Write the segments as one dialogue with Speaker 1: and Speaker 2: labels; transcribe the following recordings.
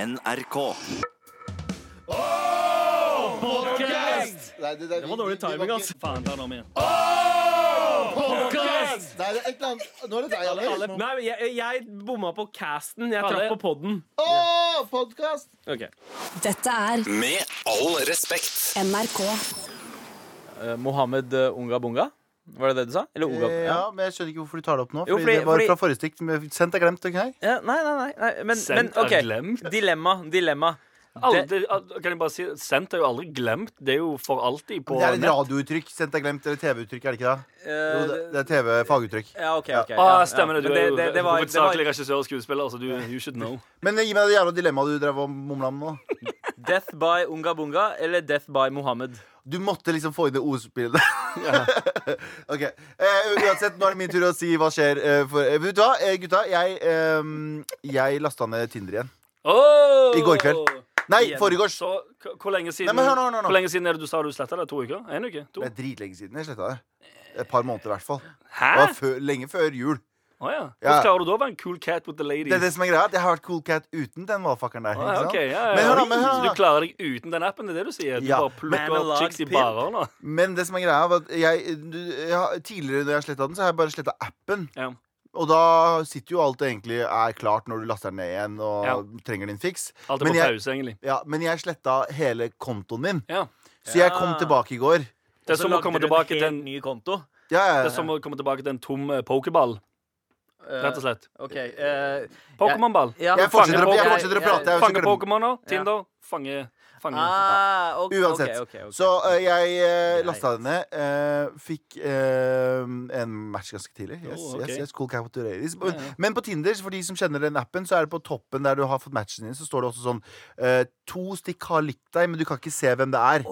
Speaker 1: NRK.
Speaker 2: Nei, det, det,
Speaker 3: Det var dårlig timing,
Speaker 4: altså.
Speaker 3: ass. Faen, ta den om igjen. Podcast!
Speaker 2: Nei, det er et eller annet Nå er det deg, Alex.
Speaker 5: Nei, men jeg, jeg bomma på casten. Jeg
Speaker 3: Alle-
Speaker 5: traff på podden.
Speaker 2: Å, podkast!
Speaker 5: Ok.
Speaker 6: Dette er
Speaker 1: Med all respekt.
Speaker 6: NRK.
Speaker 4: Eh, Mohammed eh, Unga Bunga? Var det det du sa? Eller Unga
Speaker 7: Ja, men jeg skjønner ikke hvorfor du tar det opp nå. Fordi,
Speaker 4: Jo, fordi-
Speaker 7: det var
Speaker 4: fordi-
Speaker 7: fra forrige stikk. men Sendt er glemt. ok?
Speaker 4: Ja, nei, nei, nei, nei. Men, men
Speaker 3: Sendt er
Speaker 4: OK.
Speaker 3: glemt.
Speaker 4: Dilemma. Dilemma.
Speaker 3: Aldri, al- kan jeg bare si, Sendt er jo aldri glemt. Det er jo for alltid på
Speaker 7: Det er et
Speaker 3: nett.
Speaker 7: radiouttrykk. Sendt er glemt, eller TV-uttrykk, er det ikke det?
Speaker 4: Eh,
Speaker 7: Jo, det, det er TV-faguttrykk.
Speaker 4: ja, OK. ok ja,
Speaker 3: Ah,
Speaker 4: ja.
Speaker 3: stemmer det. Du
Speaker 4: Men
Speaker 3: er jo
Speaker 4: det, det, var, det, var,
Speaker 3: hovedsakelig regissør og skuespiller, så du you should know.
Speaker 7: Men gi meg det jævla dilemmaet du drev og mumla om nå.
Speaker 4: Death by Unga Bunga eller Death by Mohammed?
Speaker 7: Du måtte liksom få inn det ordspillet der. ok. Eh, uansett, nå er det min tur å si hva skjer. Eh, for, eh, vet du hva, eh, gutta? Jeg, eh, jeg lasta ned Tinder igjen.
Speaker 3: Oh!
Speaker 7: I går kveld. Nei,
Speaker 4: Igjen.
Speaker 7: foregårs.
Speaker 3: Så k- hvor lenge siden
Speaker 7: Nei, men hør nå, hør nå, hør nå.
Speaker 3: Hvor lenge siden er det du sa du sletta det? To uker? En uke? To?
Speaker 7: Det er dritlenge siden jeg sletta det. Et par måneder, i hvert fall.
Speaker 3: Hæ?
Speaker 7: Det var før, lenge før jul.
Speaker 3: Å ja.
Speaker 7: Ja.
Speaker 3: Hvordan klarer du da å være en cool cat with the ladies?
Speaker 7: Det er det som er greia. at Jeg har vært cool cat uten den motherfuckeren der.
Speaker 3: Ah,
Speaker 7: ikke sant?
Speaker 3: ok, ja, ja.
Speaker 7: Men hør da, men hør da.
Speaker 3: Så du klarer deg uten den appen? Det er det du sier? Du
Speaker 7: Ja.
Speaker 3: bare plukker
Speaker 4: Man
Speaker 3: opp
Speaker 4: alive
Speaker 3: chicks i
Speaker 4: pimp.
Speaker 3: barer nå?
Speaker 7: Men det som er greia, var at jeg, du, jeg har- tidligere når jeg sletta den, så har jeg bare sletta appen.
Speaker 3: Ja.
Speaker 7: Og da sitter jo alt det egentlig er klart når du laster den ned igjen og
Speaker 3: Ja.
Speaker 7: trenger din fiks.
Speaker 3: Alt er
Speaker 7: Men
Speaker 3: på
Speaker 7: jeg-
Speaker 3: pause, egentlig.
Speaker 7: Ja, men jeg sletta hele kontoen min.
Speaker 3: Ja.
Speaker 7: Så jeg kom
Speaker 4: Ja.
Speaker 7: tilbake i går.
Speaker 4: Og
Speaker 3: Det er
Speaker 4: så
Speaker 3: som å
Speaker 4: lagde
Speaker 3: komme
Speaker 4: du en
Speaker 3: tilbake
Speaker 4: helt
Speaker 3: til en
Speaker 4: ny konto.
Speaker 7: Ja, ja, ja.
Speaker 3: det er som å komme tilbake til en tom eh, pokerball,
Speaker 4: Eh,
Speaker 3: rett og slett.
Speaker 4: OK. eh,
Speaker 3: Pokémon-ball.
Speaker 4: ja,
Speaker 7: Jeg fortsetter å- jeg
Speaker 4: Fange-
Speaker 7: fortsetter å prate, jeg-
Speaker 3: Fange
Speaker 7: glem-
Speaker 3: Pokémoner, Tinder, fange, fange.
Speaker 4: Ah, ok,
Speaker 7: Uansett.
Speaker 4: ok, ok, ok.
Speaker 7: Så eh, jeg eh, lasta den
Speaker 4: Greit.
Speaker 7: ned. eh, fikk eh, en match ganske tidlig. Yes,
Speaker 3: Oh, ok.
Speaker 7: yes, yes, cool cat with the ladies. Men på Tinder, for de som kjenner den appen, så er det på toppen der du har fått matchen din, så står det også sånn eh, To stikk har likt deg, men du kan ikke se hvem det er.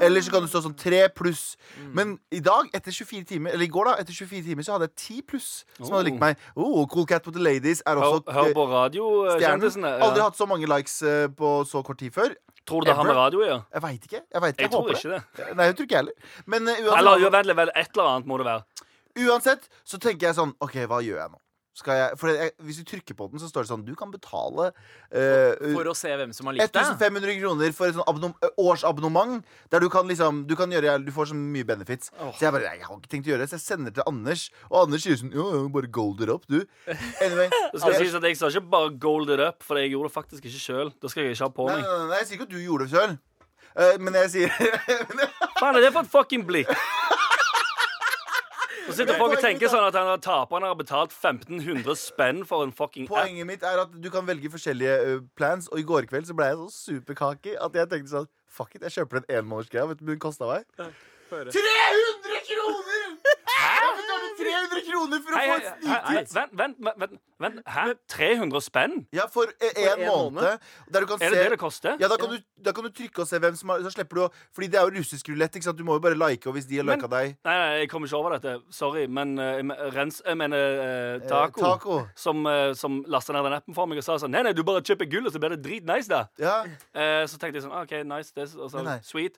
Speaker 7: Eller så kan det stå sånn tre pluss.
Speaker 3: Mm.
Speaker 7: Men i dag, etter 24 timer Eller i går, da, etter 24 timer, så hadde jeg ti pluss som
Speaker 3: Oh.
Speaker 7: hadde likt meg. Oh, cool cat with the ladies er
Speaker 3: Hør,
Speaker 7: også
Speaker 3: hør
Speaker 7: eh,
Speaker 3: på
Speaker 7: stjernen.
Speaker 3: radiokjendisene.
Speaker 7: Aldri hatt så mange likes eh, på så kort tid før.
Speaker 3: Tror du det har med
Speaker 7: ever.
Speaker 3: radio å gjøre?
Speaker 7: Jeg veit ikke. Jeg, vet ikke.
Speaker 3: Jeg
Speaker 7: jeg
Speaker 3: tror
Speaker 7: håper det.
Speaker 3: ikke det.
Speaker 7: Nei, jeg tror ikke jeg heller. Men eh,
Speaker 3: Eller jo,
Speaker 7: uansett,
Speaker 3: vent litt, vel, et eller annet må det være.
Speaker 7: uansett så tenker jeg sånn OK, hva gjør jeg nå? Skal jeg, for jeg, Hvis du trykker på den, så står det sånn Du kan betale eh,
Speaker 4: For å se hvem som har likt deg.
Speaker 7: 1500 kroner for et sånn abonnom, eh, årsabonnement. Der du kan liksom Du, kan gjøre, du får så mye benefits. Så jeg bare nei, Jeg har ikke tenkt å gjøre det, så jeg sender til Anders. Og Anders sier sånn Jo, jo, bare gold it up, du. Anyway.
Speaker 3: Det skal
Speaker 7: jeg-
Speaker 3: sies at Jeg sa ikke bare 'gold it up', for jeg gjorde det faktisk ikke sjøl. Det skal jeg ikke ha på
Speaker 7: Nei, nei,
Speaker 3: meg.
Speaker 7: nei, nei, jeg sier ikke at du gjorde det sjøl. men jeg sier
Speaker 3: Faen, er det for et fucking blikk? Så sitter folk og tenker sånn at han har taperen har betalt 1500 spenn for en fucking app.
Speaker 7: Poenget mitt er at du kan velge forskjellige ø, plans, og i går kveld så ble jeg så superkaki at jeg tenkte sånn Fuck it, jeg kjøper den enmånedersgreia. Vet du hvor den kosta meg? 300 kroner! Hæ? Jeg betalte 300 kroner for å
Speaker 3: Hei,
Speaker 7: få
Speaker 3: hei,
Speaker 7: et
Speaker 3: hei, hei,
Speaker 7: sniktitt!
Speaker 3: vent, vent, vent, vent, vent. Hæ? 300 spenn?
Speaker 7: Ja, for én
Speaker 4: en
Speaker 7: måned. Der du kan
Speaker 3: Er det
Speaker 7: se
Speaker 3: det det koster?
Speaker 7: ja, da kan, du, da kan du trykke og se hvem som har Så slipper du å Fordi det er jo russisk rulett, ikke sant? Du må jo bare like, og hvis de har
Speaker 3: Men-
Speaker 7: lika deg
Speaker 3: Nei, nei, jeg kommer ikke over dette. Sorry. Men eh, jeg men- rens Jeg mener eh,
Speaker 7: eh,
Speaker 3: Taco.
Speaker 7: taco.
Speaker 3: Som, eh, som lasta ned den appen for meg og sa sånn Nei, nei, du bare kjøper gull, og så blir det dritnice, da.
Speaker 7: Ja.
Speaker 3: Eh, så tenkte jeg sånn ah, OK, nice. Det, og så,
Speaker 7: Nei, nei.
Speaker 3: sweet.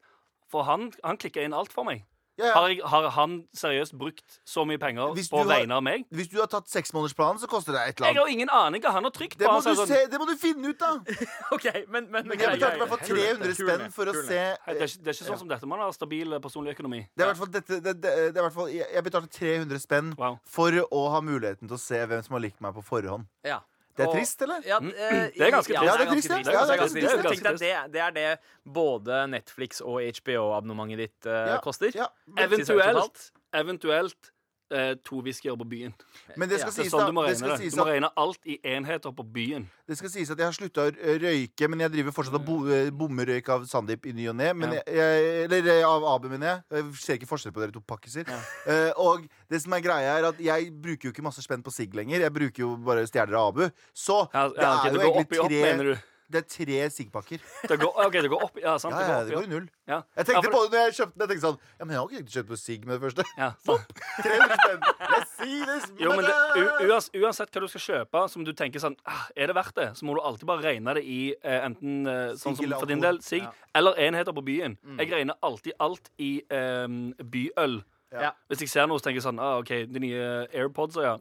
Speaker 3: For han, han klikka inn alt for meg.
Speaker 7: ja, ja.
Speaker 3: Har, jeg, har han seriøst brukt så mye penger
Speaker 7: Hvis
Speaker 3: på
Speaker 7: du har-
Speaker 3: vegne av meg?
Speaker 7: Hvis du har tatt seksmånedersplanen, så koster det et
Speaker 3: Jeg
Speaker 7: eller annet.
Speaker 3: har ingen aning hva han har trykt på.
Speaker 7: Det må,
Speaker 3: Han sa
Speaker 7: du
Speaker 3: sånn,
Speaker 7: se, det må du finne ut, da!
Speaker 4: OK, men, men,
Speaker 7: Men jeg betalte i hvert fall 300
Speaker 4: Kul med,
Speaker 7: spenn for å
Speaker 4: kul med.
Speaker 7: se eh,
Speaker 3: Hei, det, er ikke, det er ikke sånn som dette. Man har stabil eh, personlig økonomi.
Speaker 7: det er i hvert fall dette, det, det, det er i hvert fall, Jeg jeg betalte 300 spenn
Speaker 3: Wow.
Speaker 7: for å ha muligheten til å se hvem som har likt meg på forhånd.
Speaker 4: Ja.
Speaker 7: Det er
Speaker 4: Og-
Speaker 7: trist, eller?
Speaker 4: Ja, eh,
Speaker 3: Det er ganske trist.
Speaker 4: Ja,
Speaker 7: Ja, det er trist, ja.
Speaker 4: det er ganske
Speaker 3: Ja,
Speaker 4: trist.
Speaker 3: det er ganske
Speaker 4: Tenk deg, det, det er det både Netflix og HBO-abonnementet ditt eh,
Speaker 7: Ja,
Speaker 4: koster.
Speaker 7: Ja.
Speaker 3: Eventuelt, eventuelt eh, to whiskyer på byen.
Speaker 7: Men det skal
Speaker 3: Det er
Speaker 7: sies
Speaker 3: sånn
Speaker 7: da
Speaker 3: du må
Speaker 7: det
Speaker 3: regne
Speaker 7: skal
Speaker 3: det.
Speaker 7: sies
Speaker 3: Du må
Speaker 7: at,
Speaker 3: regne alt i enheter på byen.
Speaker 7: det skal sies at jeg har slutta å rø- røyke, men jeg driver fortsatt og bo, eh, bommerøyk av Sandeep i ny og ne. Men
Speaker 3: Ja.
Speaker 7: jeg, jeg- eller eh, av Abu, mener jeg. Jeg ser ikke forskjell på dere to pakkiser. Eh, og det som er greia, er at jeg bruker jo ikke masse spenn på sigg lenger. Jeg bruker jo bare stjeler av Abu. Så
Speaker 3: Ja,
Speaker 7: det
Speaker 3: ja, ok,
Speaker 7: er jo
Speaker 3: det går opp i
Speaker 7: egentlig
Speaker 3: opp, mener
Speaker 7: tre,
Speaker 3: du.
Speaker 7: det er tre sigg-pakker.
Speaker 3: Det går, ok, det går opp, ja, sant,
Speaker 7: Ja, ja, det går
Speaker 3: det går opp,
Speaker 7: i null.
Speaker 3: ja. Ja.
Speaker 7: Jeg tenkte
Speaker 3: Ja, for-
Speaker 7: på det når jeg kjøpte den. Jeg tenkte sånn Ja, men jeg har ikke tenkt å kjøpe på Sig med det første.
Speaker 3: Ja, sant.
Speaker 7: 300 spenn. Let's see this
Speaker 3: Jo, men det, u-
Speaker 7: mother!
Speaker 3: uans, Uansett hva du skal kjøpe, som du tenker sånn ah, Er det verdt det? Så må du alltid bare regne det i eh, enten eh,
Speaker 7: Sigg
Speaker 3: sånn som
Speaker 7: eller
Speaker 3: for din
Speaker 7: alkohol. Mm.
Speaker 3: del, sigg, eller enheter på byen. Jeg regner alltid alt i eh, byøl.
Speaker 7: Ja.
Speaker 3: Hvis jeg ser noe, så tenker jeg sånn ah, OK, de nye AirPods, ja.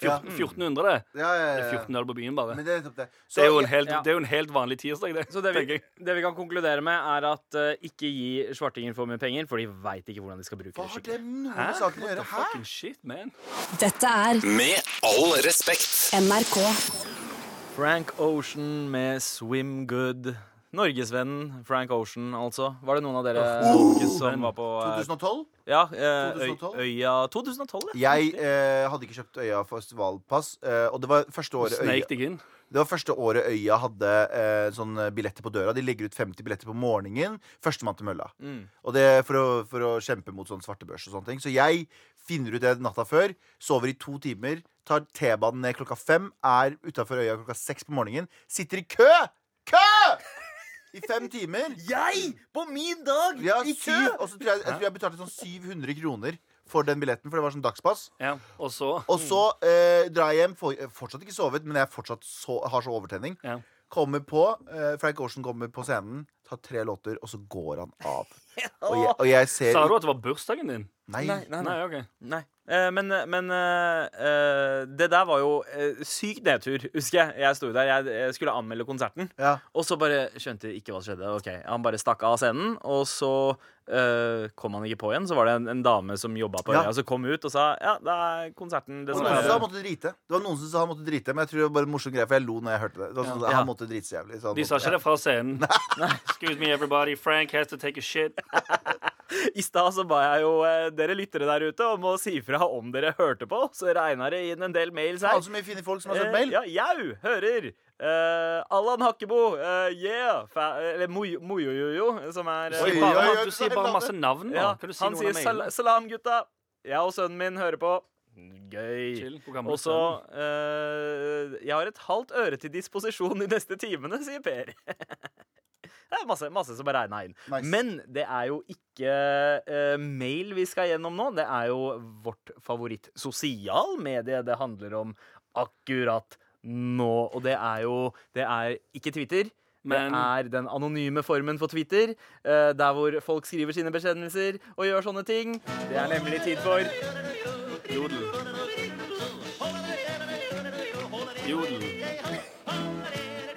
Speaker 7: Ja.
Speaker 3: 14, 1400.
Speaker 7: Ja, ja,
Speaker 3: Det er
Speaker 7: ja, ja.
Speaker 3: 1400 på byen, bare.
Speaker 7: Mm. Men det er nettopp det. Så
Speaker 3: det, er jo en helt,
Speaker 4: ja.
Speaker 3: det er jo en helt vanlig tirsdag, det.
Speaker 4: Så det vi,
Speaker 3: tenker jeg.
Speaker 4: det vi kan konkludere med, er at eh, ikke gi svartinger for mye penger, for de veit ikke hvordan de skal bruke
Speaker 7: hva
Speaker 4: det
Speaker 7: har det
Speaker 4: skikkelig.
Speaker 7: med noe
Speaker 3: Hæ?
Speaker 7: med saken å gjøre? Hæ?
Speaker 3: Fucking shit, man.
Speaker 6: Dette er
Speaker 1: Med all respekt.
Speaker 6: NRK.
Speaker 4: Frank Ocean med Swim Good. Norgesvennen Frank Ocean, altså. Var det noen av dere som var på eh,
Speaker 7: 2012?
Speaker 4: Ja, eh, øy,
Speaker 7: 2012?
Speaker 4: Øya 2012, ja.
Speaker 7: Jeg eh, hadde ikke kjøpt Øya festivalpass, eh, og det var første året Øya
Speaker 3: Sneik deg inn.
Speaker 7: Det var første året Øya hadde eh, sånn billetter på døra. De legger ut 50 billetter på morgenen. Førstemann til mølla. Og det er for å, for å kjempe mot sånn svartebørs og sånne ting. Så jeg finner ut det natta før, sover i to timer, tar T-banen ned klokka fem, er utafor Øya klokka seks på morgenen, sitter i kø! Kø! I fem timer.
Speaker 4: Jeg! På min dag!
Speaker 7: Ja, syv, og så tror jeg, jeg tror jeg betalte sånn 700 kroner for den billetten, for det var sånn dagspass.
Speaker 3: Ja, og så
Speaker 7: Og så eh, drar jeg hjem, får, fortsatt ikke sovet, men jeg fortsatt så, har så overtenning.
Speaker 3: Ja.
Speaker 7: Kommer på, eh, Frank Ocean kommer på scenen, tar tre låter, og så går han av. Og jeg, og jeg ser
Speaker 3: Sa du at det var bursdagen din?
Speaker 7: Eh, Nei.
Speaker 4: Nei, nei, nei.
Speaker 3: Nei, OK.
Speaker 4: Nei. Eh, men men eh, eh, det der var jo eh, syk nedtur, husker jeg. Jeg sto jo der, jeg, jeg skulle anmelde konserten.
Speaker 7: Ja.
Speaker 4: Og så bare skjønte jeg ikke hva som skjedde. Ok, Han bare stakk av scenen, og så eh, kom han ikke på igjen. Så var det en, en dame som jobba på
Speaker 7: Ja.
Speaker 4: øya, som kom ut og sa ja, da er konserten
Speaker 7: Og noen som sa
Speaker 4: dessverre
Speaker 7: han måtte drite. Det var noen som sa han måtte drite, men jeg tror det var bare en morsom greie, for jeg lo når jeg hørte det. det var sånn,
Speaker 4: Ja.
Speaker 7: Han måtte drite så jævlig. Så han
Speaker 3: De sa
Speaker 7: måtte,
Speaker 3: ikke det fra scenen. Excuse me, everybody. Frank has to take a shit.
Speaker 4: I stad så ba jeg jo eh, dere lyttere der ute om å si fra om dere hørte på. Så regna det inn en del mails her.
Speaker 7: Faen, så mye fine folk som har sendt
Speaker 4: Eh,
Speaker 7: mail.
Speaker 4: Ja, jau, hører. Eh, Allan Hakkebo, eh, yeah. Fa eller Mojo- Mojojojo, som er eh,
Speaker 7: Oi,
Speaker 3: Du
Speaker 7: oi,
Speaker 3: bare,
Speaker 7: oi,
Speaker 3: du sier bare masse navn nå.
Speaker 4: ja,
Speaker 3: Kan du si
Speaker 4: Han
Speaker 3: noen
Speaker 4: sier
Speaker 3: av mailene?
Speaker 4: sal salam, gutta. Jeg og sønnen min hører på. Gøy.
Speaker 3: Chill. Hvor gammel er
Speaker 4: Og så eh, Jeg har et halvt øre til disposisjon de neste timene, sier Per. Det er masse, masse som er regna inn.
Speaker 7: Nice.
Speaker 4: Men det er jo ikke eh, mail vi skal gjennom nå. Det er jo vårt favoritt sosialmedie det handler om akkurat nå. Og det er jo Det er ikke Twitter.
Speaker 3: Men-
Speaker 4: det er den anonyme formen for Twitter, eh, der hvor folk skriver sine bekjennelser og gjør sånne ting. Det er nemlig tid for
Speaker 3: Jodel. Jodel.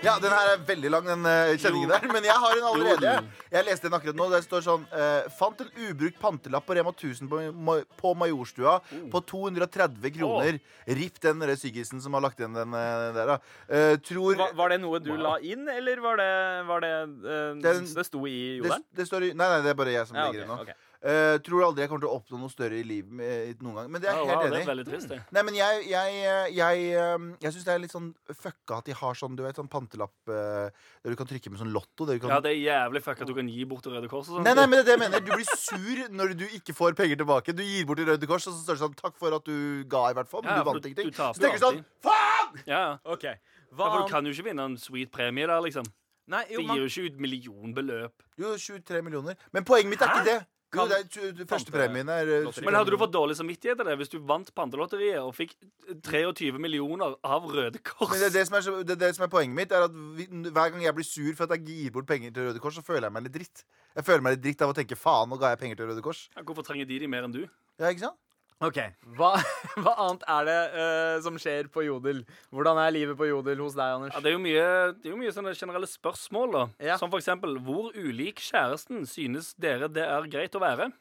Speaker 7: Ja, den her er veldig lang, den eh, kjenningen der. Men jeg har en allerede. Jeg leste den akkurat nå. Der står sånn eh, Fant en ubrukt pantelapp på Rema 1000 på, Ma- på Majorstua på 230 kroner. Ripp den derre Syggisen som har lagt igjen den eh, der, da. Eh, tror
Speaker 4: Var, var det noe du la inn, eller var det, var det, eh,
Speaker 7: Den-
Speaker 4: det sto i
Speaker 7: det,
Speaker 4: jodelen?
Speaker 7: det står i Nei, nei, det er bare jeg som
Speaker 4: Ja,
Speaker 7: legger det
Speaker 4: ok,
Speaker 7: nå.
Speaker 4: ok.
Speaker 7: Eh, tror aldri jeg kommer til å oppnå noe større i livet eh, noen gang. Men det er
Speaker 3: Ja,
Speaker 7: jeg
Speaker 3: wow,
Speaker 7: helt
Speaker 3: det er
Speaker 7: enig i.
Speaker 3: veldig trist, det.
Speaker 7: Nei, men jeg Jeg, jeg, jeg, eh, jeg syns det er litt sånn fucka at de har sånn du vet, sånn pantelapp eh, der du kan trykke med sånn lotto.
Speaker 4: Mm.
Speaker 7: Der du kan
Speaker 3: Ja, det er jævlig fuck at du kan gi bort til Røde Kors og sånn.
Speaker 7: Nei, nei, men det er det jeg mener. Du blir sur når du ikke får penger tilbake. Du gir bort til Røde Kors, og så står det sånn 'takk for at du ga', i hvert fall. Men
Speaker 3: Ja,
Speaker 7: du vant
Speaker 3: for du-
Speaker 7: ingenting.
Speaker 3: du taper
Speaker 7: Så tenker du
Speaker 3: jo
Speaker 7: sånn
Speaker 3: alltid.
Speaker 7: faen!
Speaker 3: Ja, ja.
Speaker 4: Ok.
Speaker 3: Ja,
Speaker 4: Hva
Speaker 3: for du
Speaker 4: annet?
Speaker 3: kan jo ikke vinne en sweet premie der, liksom.
Speaker 4: Nei,
Speaker 3: Det
Speaker 4: jo,
Speaker 3: gir
Speaker 4: man,
Speaker 3: jo ikke ut millionbeløp.
Speaker 7: Jo, 23 millioner. Men poenget mitt er ikke det. Jo,
Speaker 4: Kan-
Speaker 7: det er tju- det første premien er eh,
Speaker 4: Lotteri.
Speaker 3: Men hadde du fått dårlig samvittighet av det hvis du vant Pantelotteriet og fikk 23 millioner av Røde Kors?
Speaker 7: men det er det, som er, så- det er det som er poenget mitt, er at vi, hver gang jeg blir sur for at jeg gir bort penger til Røde Kors, så føler jeg meg litt dritt. Jeg føler meg litt dritt av å tenke 'faen, nå ga jeg penger til Røde Kors'.
Speaker 3: Ja, Hvorfor trenger de de mer enn du?
Speaker 7: Ja, ikke sant?
Speaker 4: Ok, hva, hva annet er det eh, som skjer på Jodel? Hvordan er livet på Jodel hos deg, Anders?
Speaker 3: Ja, det er jo mye, det er jo mye sånne generelle spørsmål, da.
Speaker 4: Ja.
Speaker 3: Som for eksempel Hvor ulik kjæresten synes dere det er greit å være?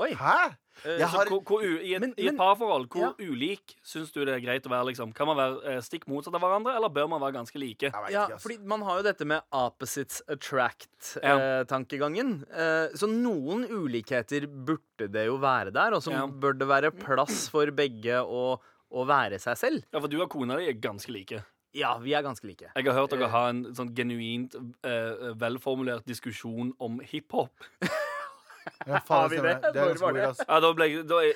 Speaker 4: Oi,
Speaker 7: Hæ? Jeg
Speaker 3: Eh, Så
Speaker 7: har
Speaker 3: hvor, hvor, u- I et,
Speaker 4: Men-
Speaker 3: i
Speaker 4: men-
Speaker 3: et parforhold, hvor ulik syns du det er greit å være? liksom? Kan man være eh, stikk motsatt av hverandre, eller bør man være ganske like?
Speaker 7: Jeg vet
Speaker 4: ja,
Speaker 7: ikke, ass.
Speaker 4: fordi man har jo dette med opposites
Speaker 3: Ja.
Speaker 4: attract-tankegangen. Eh, så noen ulikheter burde det jo være der, og så
Speaker 3: Ja.
Speaker 4: bør det være plass for begge å, å være seg selv.
Speaker 3: Ja, For du og kona di er ganske like.
Speaker 4: Ja, vi er ganske like.
Speaker 3: Jeg har hørt
Speaker 7: Eh.
Speaker 3: dere ha en sånn genuint eh, velformulert diskusjon om hiphop.
Speaker 7: Ja, faen,
Speaker 4: Har vi
Speaker 7: stemmer
Speaker 4: det?
Speaker 7: Det er
Speaker 4: Når
Speaker 7: ganske
Speaker 4: var det?
Speaker 7: weird, ass.
Speaker 3: Ja, da ble jeg, da, jeg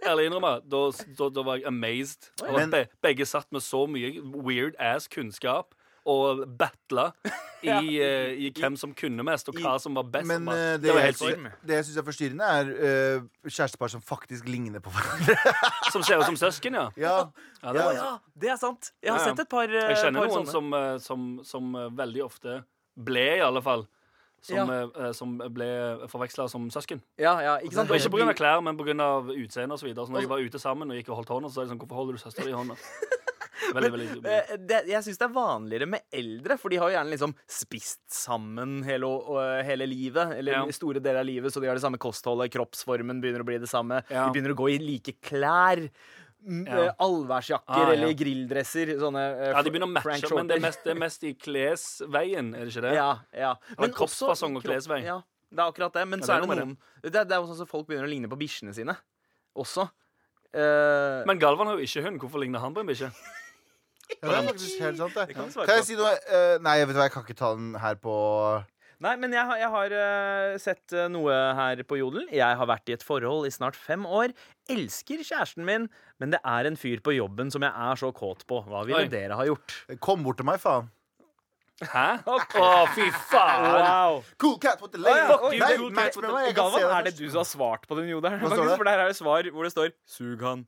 Speaker 3: Ærlig innrømme, da, da, da var jeg amazed. Og
Speaker 7: Men-
Speaker 3: be, begge satt med så mye weird ass kunnskap og battla i, eh, i hvem som kunne mest, og hva som var best.
Speaker 7: Men
Speaker 3: Bare-
Speaker 7: eh, det,
Speaker 3: det var
Speaker 7: jeg
Speaker 3: helt sykt.
Speaker 7: sy- det jeg syns er forstyrrende, er eh, kjærestepar som faktisk ligner på hverandre.
Speaker 3: Som ser ut som søsken, ja.
Speaker 7: ja.
Speaker 3: ja, det
Speaker 4: Å
Speaker 3: var,
Speaker 4: ja, det er sant. Jeg har
Speaker 3: Ja, ja.
Speaker 4: sett et par, eh,
Speaker 3: Jeg kjenner
Speaker 4: par
Speaker 3: noen
Speaker 4: sånne.
Speaker 3: som, eh, som, som eh, veldig ofte ble, i alle fall, som, eh, som ble forveksla som søsken.
Speaker 4: Ja, ja, ikke sant?
Speaker 3: Og ikke pga. klær, men pga. utseende osv. Så videre. så når de var ute sammen og gikk og holdt hånda, så sa de sånn Hvorfor holder du søstera di i hånda? Veldig, veldig
Speaker 4: Eh, det, jeg syns det er vanligere med eldre, for de har jo gjerne liksom spist sammen hele, å- å- hele livet. Eller
Speaker 3: Ja.
Speaker 4: i store deler av livet, så de har det samme kostholdet, kroppsformen begynner å bli det samme.
Speaker 3: Ja.
Speaker 4: De begynner å gå i like klær. m-
Speaker 3: Ja.
Speaker 4: eh, Allværsjakker
Speaker 3: Ah, ja.
Speaker 4: eller grilldresser. Sånne eh,
Speaker 3: Ja, de begynner å
Speaker 4: Fra- Frank
Speaker 3: matche, men det er
Speaker 4: Shorter.
Speaker 3: mest, det er mest i klesveien, er det ikke det?
Speaker 4: Ja, ja. Men også
Speaker 3: kroppsfasong og
Speaker 4: kropp-
Speaker 3: klesvei.
Speaker 4: Ja, det er akkurat det. Men
Speaker 3: Ja,
Speaker 4: så
Speaker 3: det
Speaker 4: er
Speaker 3: er
Speaker 4: det
Speaker 3: noe
Speaker 4: noen Det er, det er jo sånn at folk begynner å ligne på bikkjene sine også. Eh,
Speaker 3: Men Galvan har jo ikke hund. Hvorfor ligner han på en bikkje?
Speaker 7: Ja, det er faktisk helt sant, det.
Speaker 4: kan du
Speaker 7: Kan,
Speaker 4: svare på.
Speaker 7: jeg si noe? Eh, nei, vet du hva, jeg kan ikke ta den her på
Speaker 4: Nei, men jeg har, jeg har eh, sett eh, noe her på Jodel. Jeg har vært i et forhold i snart fem år. Elsker kjæresten min, men det er en fyr på jobben som jeg er så kåt på. Hva ville
Speaker 3: Oi.
Speaker 4: dere ha gjort?
Speaker 7: eh, Kom bort til meg, faen.
Speaker 3: Hæ? Å, fy faen!
Speaker 4: Wow!
Speaker 7: Cool cat with the lady.
Speaker 4: Å, ja,
Speaker 7: Nei,
Speaker 4: oi, cool
Speaker 7: match med meg. Jeg kan
Speaker 4: Galvan,
Speaker 7: se
Speaker 4: er
Speaker 7: deg
Speaker 4: det
Speaker 7: først.
Speaker 4: du som har svart på den jodelen?
Speaker 7: Hva står
Speaker 4: Faktisk,
Speaker 7: det?
Speaker 4: For der er det svar hvor det står 'sug han'.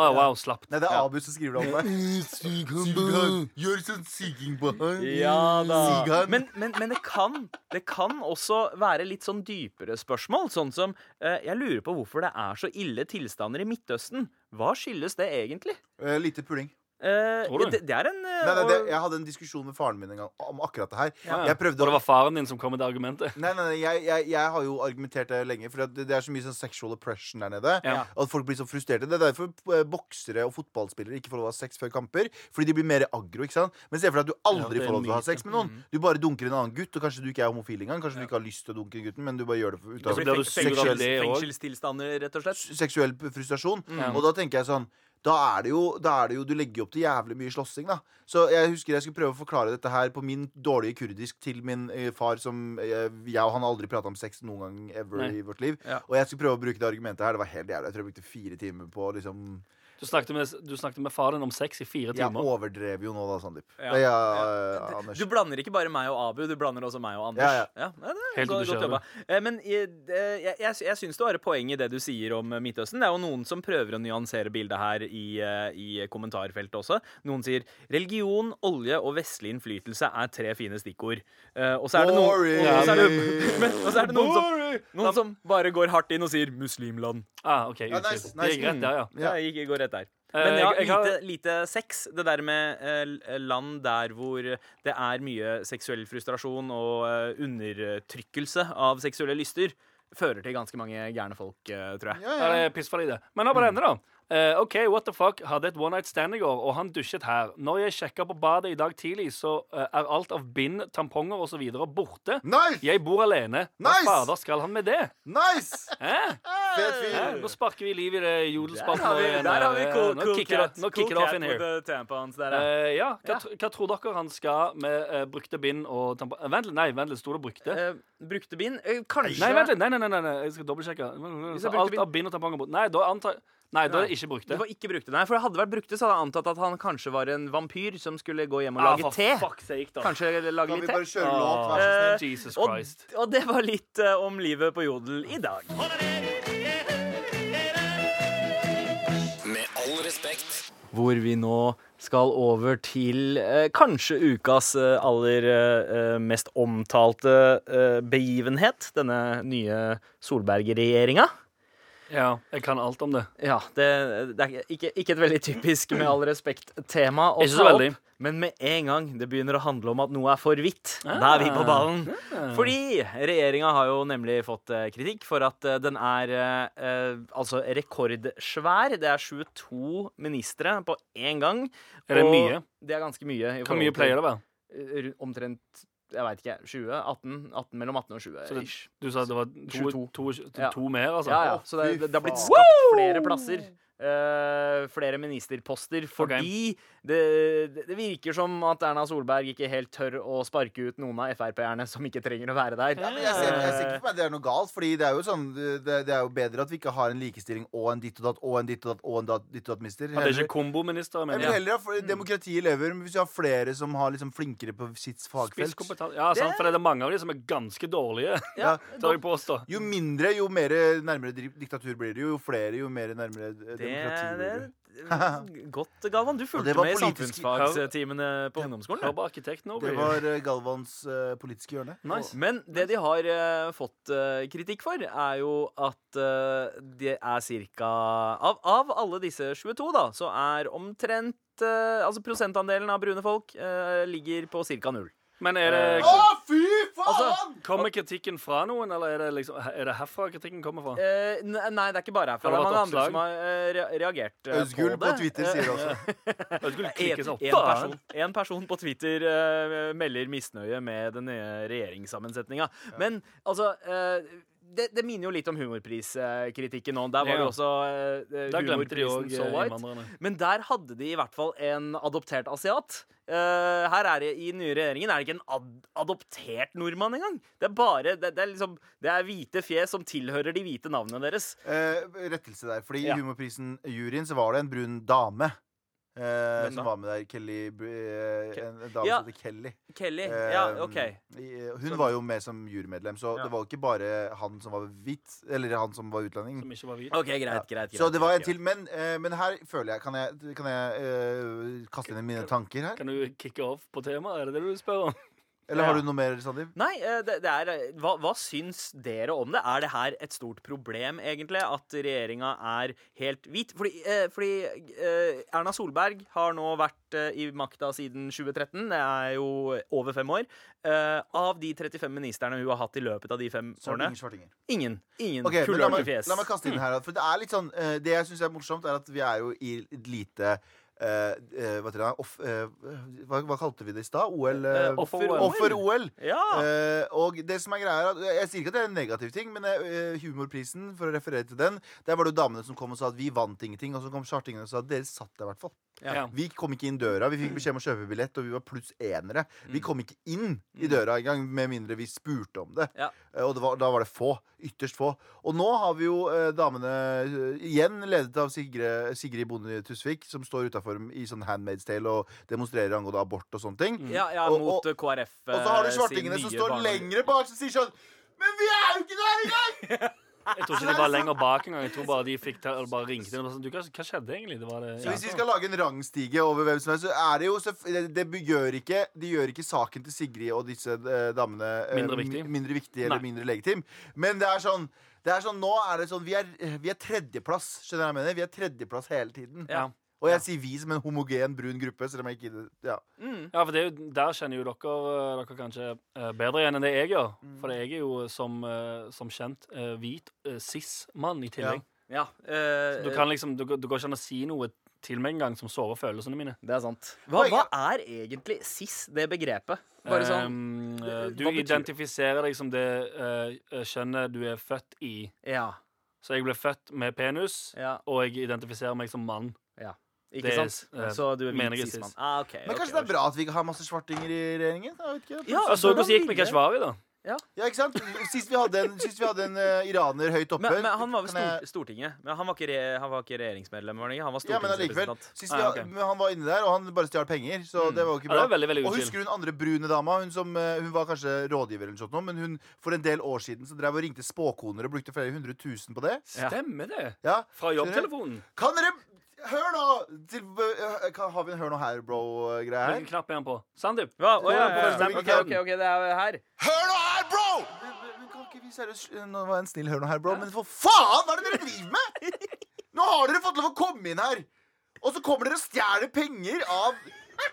Speaker 3: Å, wow, slapp.
Speaker 7: Nei, det er Abu som skriver det om meg. Gjør sånn siging på han.
Speaker 4: Ja
Speaker 7: Sig
Speaker 4: da.
Speaker 7: han.
Speaker 4: Men, men, men det, kan, det kan også være litt sånn dypere spørsmål. Sånn som eh, Jeg lurer på hvorfor det er så ille tilstander i Midtøsten. Hva skyldes det egentlig?
Speaker 7: Eh, lite puling.
Speaker 4: Eh,
Speaker 3: Tror du?
Speaker 4: det, det er en eh,
Speaker 7: Nei, nei, det,
Speaker 4: og-
Speaker 7: jeg hadde en diskusjon med faren min en gang om akkurat det her.
Speaker 3: Ja.
Speaker 7: Jeg prøvde
Speaker 3: Og det
Speaker 7: å
Speaker 3: var faren din som kom med det argumentet.
Speaker 7: Nei, nei, nei jeg, jeg, jeg har jo argumentert det lenge, for det, det er så mye sånn sexual oppression der nede.
Speaker 3: Ja.
Speaker 7: At folk blir så frustrerte. Det er derfor eh, boksere og fotballspillere ikke får lov å ha sex før kamper. Fordi de blir mer aggro. ikke sant? Men se for deg at du
Speaker 3: Ja,
Speaker 7: aldri
Speaker 3: det er Mm.
Speaker 7: får lov til å ha
Speaker 3: myten.
Speaker 7: sex med noen. Du bare dunker en annen gutt, og kanskje du ikke er homofil engang. Kanskje du ikke har lyst til å dunke gutten, men du bare gjør det for- ut
Speaker 4: Det
Speaker 7: av
Speaker 3: blir
Speaker 4: blir
Speaker 3: du
Speaker 4: Altså, feng-
Speaker 3: sur av
Speaker 4: fengsels-
Speaker 3: det også?
Speaker 4: fengselstilstander, rett og slett.
Speaker 7: seksuell frustrasjon.
Speaker 3: Mm.
Speaker 7: Og da tenker jeg sånn da er, det jo, da er det jo Du legger jo opp til jævlig mye slåssing, da. Så jeg husker jeg skulle prøve å forklare dette her på min dårlige kurdisk til min eh, far, som eh, jeg og han har aldri prata om sex noen gang ever
Speaker 3: Nei.
Speaker 7: i vårt liv.
Speaker 4: Ja.
Speaker 7: Og jeg skulle prøve å bruke det argumentet her. Det var helt jævlig. Jeg tror jeg brukte fire timer på liksom
Speaker 3: Du snakket med, du snakket med faren din om sex i fire
Speaker 7: Jeg
Speaker 3: timer.
Speaker 7: overdrev jo nå, da, Sandeep.
Speaker 4: Ja.
Speaker 7: Ja. Ja, eh, Anders.
Speaker 4: Du blander ikke bare meg og Abu, du blander også meg og Anders.
Speaker 7: Ja,
Speaker 4: Ja, det er
Speaker 3: Helt
Speaker 4: godt, godt
Speaker 3: ubeskjedent.
Speaker 4: jobba. Eh, Men i- det- jeg, jeg, jeg syns du har et poeng i det du sier om eh, Midtøsten. Det er jo noen som prøver å nyansere bildet her i, eh, i kommentarfeltet også. Noen sier religion, olje og vestlig innflytelse er tre fine stikkord. Eh, Og så er det noen,
Speaker 7: Boring!
Speaker 4: og så er det, men, og så er det noen, som, noen som bare går hardt inn og sier muslimland.
Speaker 3: Ah, ok,
Speaker 7: Ja, nice,
Speaker 3: unnskyld. Det
Speaker 7: nice. Mm.
Speaker 3: gikk rett der, ja.
Speaker 7: Ja.
Speaker 4: Ja, jeg gikk, går rett der.
Speaker 3: Eh,
Speaker 4: Men ja,
Speaker 3: jeg- jeg har-
Speaker 4: lite, lite sex. Det der med eh, l- land der hvor det er mye seksuell frustrasjon og eh, undertrykkelse av seksuelle lyster, fører til ganske mange gærne folk, eh, tror jeg.
Speaker 7: Ja,
Speaker 3: Ja,
Speaker 7: ja.
Speaker 3: det er pissfarlig, det. Men hør på denne, da. Eh, OK, what the fuck. Hadde et one night stand i går, og han dusjet her. Når jeg sjekka på badet i dag tidlig, så eh, er alt av bind, tamponger osv. borte.
Speaker 7: Nice!
Speaker 3: Jeg bor alene. Hva
Speaker 7: Nice!
Speaker 3: fader skal han med det?
Speaker 7: Nice!
Speaker 3: Hæ?
Speaker 7: Fet
Speaker 3: Hæ?
Speaker 7: fyr.
Speaker 3: Nå sparker vi liv i det jodelspalten. igjen,
Speaker 4: der har vi
Speaker 3: eh,
Speaker 4: cool,
Speaker 3: Nå
Speaker 4: cool
Speaker 3: kicker
Speaker 4: cat,
Speaker 3: det-
Speaker 4: cool
Speaker 3: nå kicker det off
Speaker 4: cat
Speaker 3: in here.
Speaker 4: with the tampons der, ja.
Speaker 3: Eh, ja, hva, tr- hva tror dere han skal med eh, brukte bind og tamponger Vent litt, nei, vent litt, sto det brukte?
Speaker 4: Eh, brukte bind? Eh, kanskje
Speaker 3: Nei, vent litt, nei, nei, nei, nei, nei. jeg skal dobbeltsjekke.
Speaker 4: Hvis jeg brukte
Speaker 3: Alt
Speaker 4: bind-
Speaker 3: av bind og tamponger borte. Nei, da antar Nei, da er det ikke brukte.
Speaker 4: Det var ikke brukte, nei. For hadde det vært brukte, så hadde jeg antatt at han kanskje var en vampyr som skulle gå hjem og
Speaker 3: Ah,
Speaker 4: lage
Speaker 3: for
Speaker 4: te.
Speaker 3: fuck's sake, da.
Speaker 4: Kanskje lage
Speaker 7: Kan vi
Speaker 4: litt te.
Speaker 7: bare kjøre låt, vær så
Speaker 4: Eh,
Speaker 7: snill?
Speaker 3: Jesus
Speaker 4: og,
Speaker 3: Christ.
Speaker 4: og det var litt eh, om livet på Jodel i dag.
Speaker 1: Med all respekt.
Speaker 4: hvor vi nå skal over til eh, kanskje ukas eh, aller eh, eh, mest omtalte eh, begivenhet. Denne nye Solberg-regjeringa.
Speaker 3: Ja, jeg kan alt om det.
Speaker 4: Ja, det, det er ikke, ikke et veldig typisk, med all respekt-tema å
Speaker 3: Ikke så
Speaker 4: ta
Speaker 3: veldig.
Speaker 4: opp. Men med en gang det begynner å handle om at noe er for hvitt, da er vi på ballen.
Speaker 3: Eh,
Speaker 4: Fordi regjeringa har jo nemlig fått eh, kritikk for at eh, den er eh, eh, altså rekordsvær. Det er 22 ministre på én gang.
Speaker 3: Er det
Speaker 4: og
Speaker 3: mye?
Speaker 4: Det er ganske mye.
Speaker 3: Hvor mye pleier det å være?
Speaker 4: det? Eh, Omtrent jeg veit ikke. 20? 18? 18 mellom 18 og 20.
Speaker 3: Så det-
Speaker 4: ish.
Speaker 3: Du sa det var to,
Speaker 4: 22.
Speaker 3: to, to,
Speaker 4: Ja.
Speaker 3: to mer, altså?
Speaker 4: Ja, ja. Så det,
Speaker 7: fy
Speaker 4: det, det har blitt
Speaker 7: faen.
Speaker 4: skapt flere plasser. eh, flere ministerposter. Fordi det, det- det virker som at Erna Solberg ikke helt tør å sparke ut noen av Frp-erne som ikke trenger å være der.
Speaker 7: Ja, men jeg ser, jeg ser ikke for meg det er noe galt, Fordi det er jo sånn Det, det er jo bedre at vi ikke har en likestilling og en ditt og datt og en ditt og datt og en datt, ditt og datt mister.
Speaker 3: At det er
Speaker 7: Heller-
Speaker 3: ikke kombominister,
Speaker 7: Jeg
Speaker 3: men
Speaker 7: vil
Speaker 3: ja.
Speaker 7: heller ha
Speaker 2: Mm.
Speaker 7: for- demokratiet lever, men hvis vi har flere som har liksom flinkere på sitt fagfelt
Speaker 3: Spisskompetanse. Ja, sant, for det er mange av de som er ganske dårlige,
Speaker 7: ja.
Speaker 3: tør jeg påstå.
Speaker 7: Jo mindre, jo mer nærmere dri- diktatur blir det, jo jo flere, jo mer nærmere eh,
Speaker 4: Det det,
Speaker 7: Demokrati,
Speaker 4: Godt, Galvan. Du
Speaker 7: det
Speaker 4: fulgte
Speaker 7: var
Speaker 4: med i
Speaker 7: politisk-
Speaker 4: samfunnsfagstimene på ungdomsskolen.
Speaker 3: Hør
Speaker 4: du.
Speaker 3: på arkitekt nå.
Speaker 7: Det
Speaker 3: Bri.
Speaker 7: var eh, Galvans eh, politiske hjørne.
Speaker 3: Nice.
Speaker 4: Men det de har eh, fått eh, kritikk for, er jo at eh, det er ca. Av, av alle disse 22, da, så er omtrent eh, Altså prosentandelen av brune folk eh, ligger på ca. null.
Speaker 3: Men er det,
Speaker 2: Å, fy faen!
Speaker 4: Altså,
Speaker 3: kommer kritikken fra noen, eller er det, liksom, er det herfra kritikken kommer fra?
Speaker 4: Eh, ne- nei, det er ikke bare herfra. Det
Speaker 3: Har det
Speaker 4: er
Speaker 3: vært
Speaker 4: mange andre
Speaker 3: oppslag?
Speaker 4: som har eh, re- reagert eh,
Speaker 7: Øzgul
Speaker 4: på
Speaker 7: på
Speaker 4: det.
Speaker 7: Twitter
Speaker 4: Eh,
Speaker 7: sier det også.
Speaker 3: Jeg skulle klikke
Speaker 4: En,
Speaker 3: sånn.
Speaker 4: en, person, en person på Twitter eh, melder misnøye med den nye regjeringssammensetninga. Men altså eh, det, det minner jo litt om humorpriskritikken nå. Der var det
Speaker 3: Ja.
Speaker 4: jo også eh,
Speaker 3: Da glemte de
Speaker 4: humorprisen
Speaker 3: òg
Speaker 4: So White.
Speaker 3: innvandrerne.
Speaker 4: Men der hadde de i hvert fall en adoptert asiat. Eh, her er det I den nye regjeringen er det ikke en ad adoptert nordmann engang. Det er bare det, det, er liksom, det er hvite fjes som tilhører de hvite navnene deres.
Speaker 7: Eh, rettelse der. Fordi i
Speaker 4: Ja.
Speaker 7: Humorprisen-juryen så var det en brun dame. eh,
Speaker 4: Hvem da?
Speaker 7: som var med der. Kelly Br- eh,
Speaker 4: Ke-
Speaker 7: En en dame
Speaker 4: Ja.
Speaker 7: som heter Kelly.
Speaker 4: Kelly.
Speaker 7: Eh,
Speaker 4: Ja, OK.
Speaker 7: i- eh, Hun var jo med som jurymedlem, så
Speaker 4: Ja.
Speaker 7: det var jo ikke bare han som var hvit. Eller han som var utlending.
Speaker 3: Som ikke var hvit.
Speaker 4: Ok, Greit, greit, greit.
Speaker 7: Så det var en
Speaker 4: greit.
Speaker 7: til. Men, eh, men her føler jeg Kan jeg, kan jeg eh, kaste inn mine tanker her?
Speaker 3: Kan du kicke off på temaet? Er det det du spør om?
Speaker 7: Eller har du noe mer, Sandeep?
Speaker 4: Nei, eh, det, det er, eh, hva, hva syns dere om det? Er det her et stort problem, egentlig, at regjeringa er helt hvit? Fordi, eh, fordi eh, Erna Solberg har nå vært eh, i makta siden 2013. Det er jo over fem år. Eh, av de 35 ministerne hun har hatt i løpet av de fem
Speaker 7: Så er det
Speaker 4: årene,
Speaker 7: ingen svartinger.
Speaker 4: ingen. Ingen
Speaker 7: Ok, men la, meg,
Speaker 4: kulørte fjes.
Speaker 7: la meg kaste inn her. da, For Det er litt sånn eh, Det jeg syns er morsomt, er at vi er jo i et lite eh, eh, hva, heter det, da? off, eh, hva, hva kalte vi det i stad? OL? eh,
Speaker 4: Eh, Offer-OL.
Speaker 7: Offer-OL.
Speaker 4: Ja!
Speaker 7: Eh, og det som er greia er at eh, Jeg sier ikke at det er en negativ ting, men eh, humorprisen, for å referere til den, der var det jo damene som kom og sa at vi vant ingenting, og så kom chartingene og sa at dere satt der, i hvert fall.
Speaker 3: Ja.
Speaker 7: Vi kom ikke inn døra. Vi
Speaker 4: Mm.
Speaker 7: fikk beskjed om å kjøpe billett, og vi var pluss enere. Vi kom ikke inn i døra engang, med mindre vi spurte om det.
Speaker 4: Mm. Ja.
Speaker 7: Eh, Og det var, da var det få. Ytterst få. Og nå har vi jo eh, damene eh, igjen ledet av Sigrid, Sigrid Bonde Tusvik, som står utafor i sånn Handmaid's Tale og demonstrerer angående abort og sånne ting.
Speaker 4: ja, ja,
Speaker 7: Og-
Speaker 4: mot
Speaker 7: og-
Speaker 4: eh, KrF.
Speaker 7: Og så har du
Speaker 4: eh, sin
Speaker 7: svartingene som
Speaker 4: nye
Speaker 7: står
Speaker 4: barne-
Speaker 7: lengre bak, som sier sånn Men vi er jo ikke der engang!
Speaker 3: Jeg tror ikke de var lenger bak engang. Jeg tror bare de fikk til, eller bare ringte dem. og sånn, Du, hva, hva skjedde egentlig? Det var det,
Speaker 7: Så hvis vi skal lage en rangstige over hvem som er, så er det jo selvf- det, det gjør ikke, De gjør ikke saken til Sigrid og disse eh, damene eh,
Speaker 3: Mindre viktig.
Speaker 7: mi- mindre viktig eller
Speaker 3: Nei.
Speaker 7: mindre legitim. Men det er sånn det er sånn, Nå er det sånn Vi er, vi er tredjeplass, skjønner jeg hva jeg mener? Vi er tredjeplass hele tiden.
Speaker 3: Ja.
Speaker 7: Og jeg sier vi som en homogen, brun gruppe. Selv om jeg ikke ja.
Speaker 3: Ja, for det er jo, Der kjenner jo dere, eh, dere kanskje eh, bedre igjen enn det jeg gjør.
Speaker 4: Mm.
Speaker 3: For jeg er jo som, eh, som kjent eh, hvit eh, cis-mann i tillegg.
Speaker 4: Ja, eh,
Speaker 3: Du kan liksom, du, du går ikke an å si noe til meg engang som sårer følelsene mine.
Speaker 4: Det er sant. Hva, hva er egentlig cis, det begrepet? Bare sånn
Speaker 3: Ehm, eh, du
Speaker 4: hva betyr det?
Speaker 3: identifiserer deg som det eh, eh, kjønnet du er født i.
Speaker 4: Ja.
Speaker 3: Så jeg ble født med penis,
Speaker 4: ja.
Speaker 3: og jeg identifiserer meg som mann.
Speaker 4: Ikke
Speaker 3: Det er-
Speaker 4: sant?
Speaker 7: ehm,
Speaker 3: eh,
Speaker 4: Så du er
Speaker 3: mener
Speaker 4: hvit
Speaker 3: jeg
Speaker 4: cis-mann.
Speaker 3: cis.
Speaker 4: Ah, ok,
Speaker 7: Men
Speaker 4: ok,
Speaker 7: kanskje det
Speaker 4: ok.
Speaker 7: er bra at vi ikke har masse svartinger i regjeringen? Jeg vet ikke.
Speaker 4: Ja,
Speaker 3: Jeg så
Speaker 4: hvordan
Speaker 3: Altså, hvordan det gikk med
Speaker 4: ville-
Speaker 3: Keshvari, da.
Speaker 7: Ja, ikke sant? Sist vi hadde en, sist vi hadde en eh, iraner høyt oppe
Speaker 4: men, men han var ved
Speaker 7: Kan jeg-
Speaker 4: stor, Stortinget. Men han var ikke, re, han var ikke regjeringsmedlem, var han ikke? Han var
Speaker 7: Ja, men allikevel.
Speaker 4: stortingsrepresentant.
Speaker 7: Sist vi,
Speaker 3: Ah, ok. Mm.
Speaker 7: men han var inne der, og han bare stjal penger. Så det var jo ikke
Speaker 3: Ja, det
Speaker 7: bra.
Speaker 3: er veldig, veldig
Speaker 7: og
Speaker 3: utskilt.
Speaker 7: husker du den andre brune dama? Hun, som, eh, hun var kanskje rådgiver, eller noe sånt, nå, men hun for en del år siden så drev og ringte spåkoner og brukte flere hundre tusen på det.
Speaker 4: Ja.
Speaker 3: Stemmer det?
Speaker 7: Ja.
Speaker 3: Fra jobbtelefonen.
Speaker 7: Kan dere Hør nå! Til, eh, kan- har vi en Hør nå her, bro-greie her?
Speaker 3: Hvilken knapp er han på? Sandeep?
Speaker 4: Ja, å, ja, ja, ja.
Speaker 7: Stemmer,
Speaker 4: Ok,
Speaker 7: Karen.
Speaker 4: ok, ok, det er her.
Speaker 7: Hør nå her, bro! Men, men kan ikke vi seriøst Nå var jeg en snill hør nå her, bro, men for faen, hva er det dere driver med?! Nå har dere fått lov å komme inn her, og så kommer dere og stjeler penger av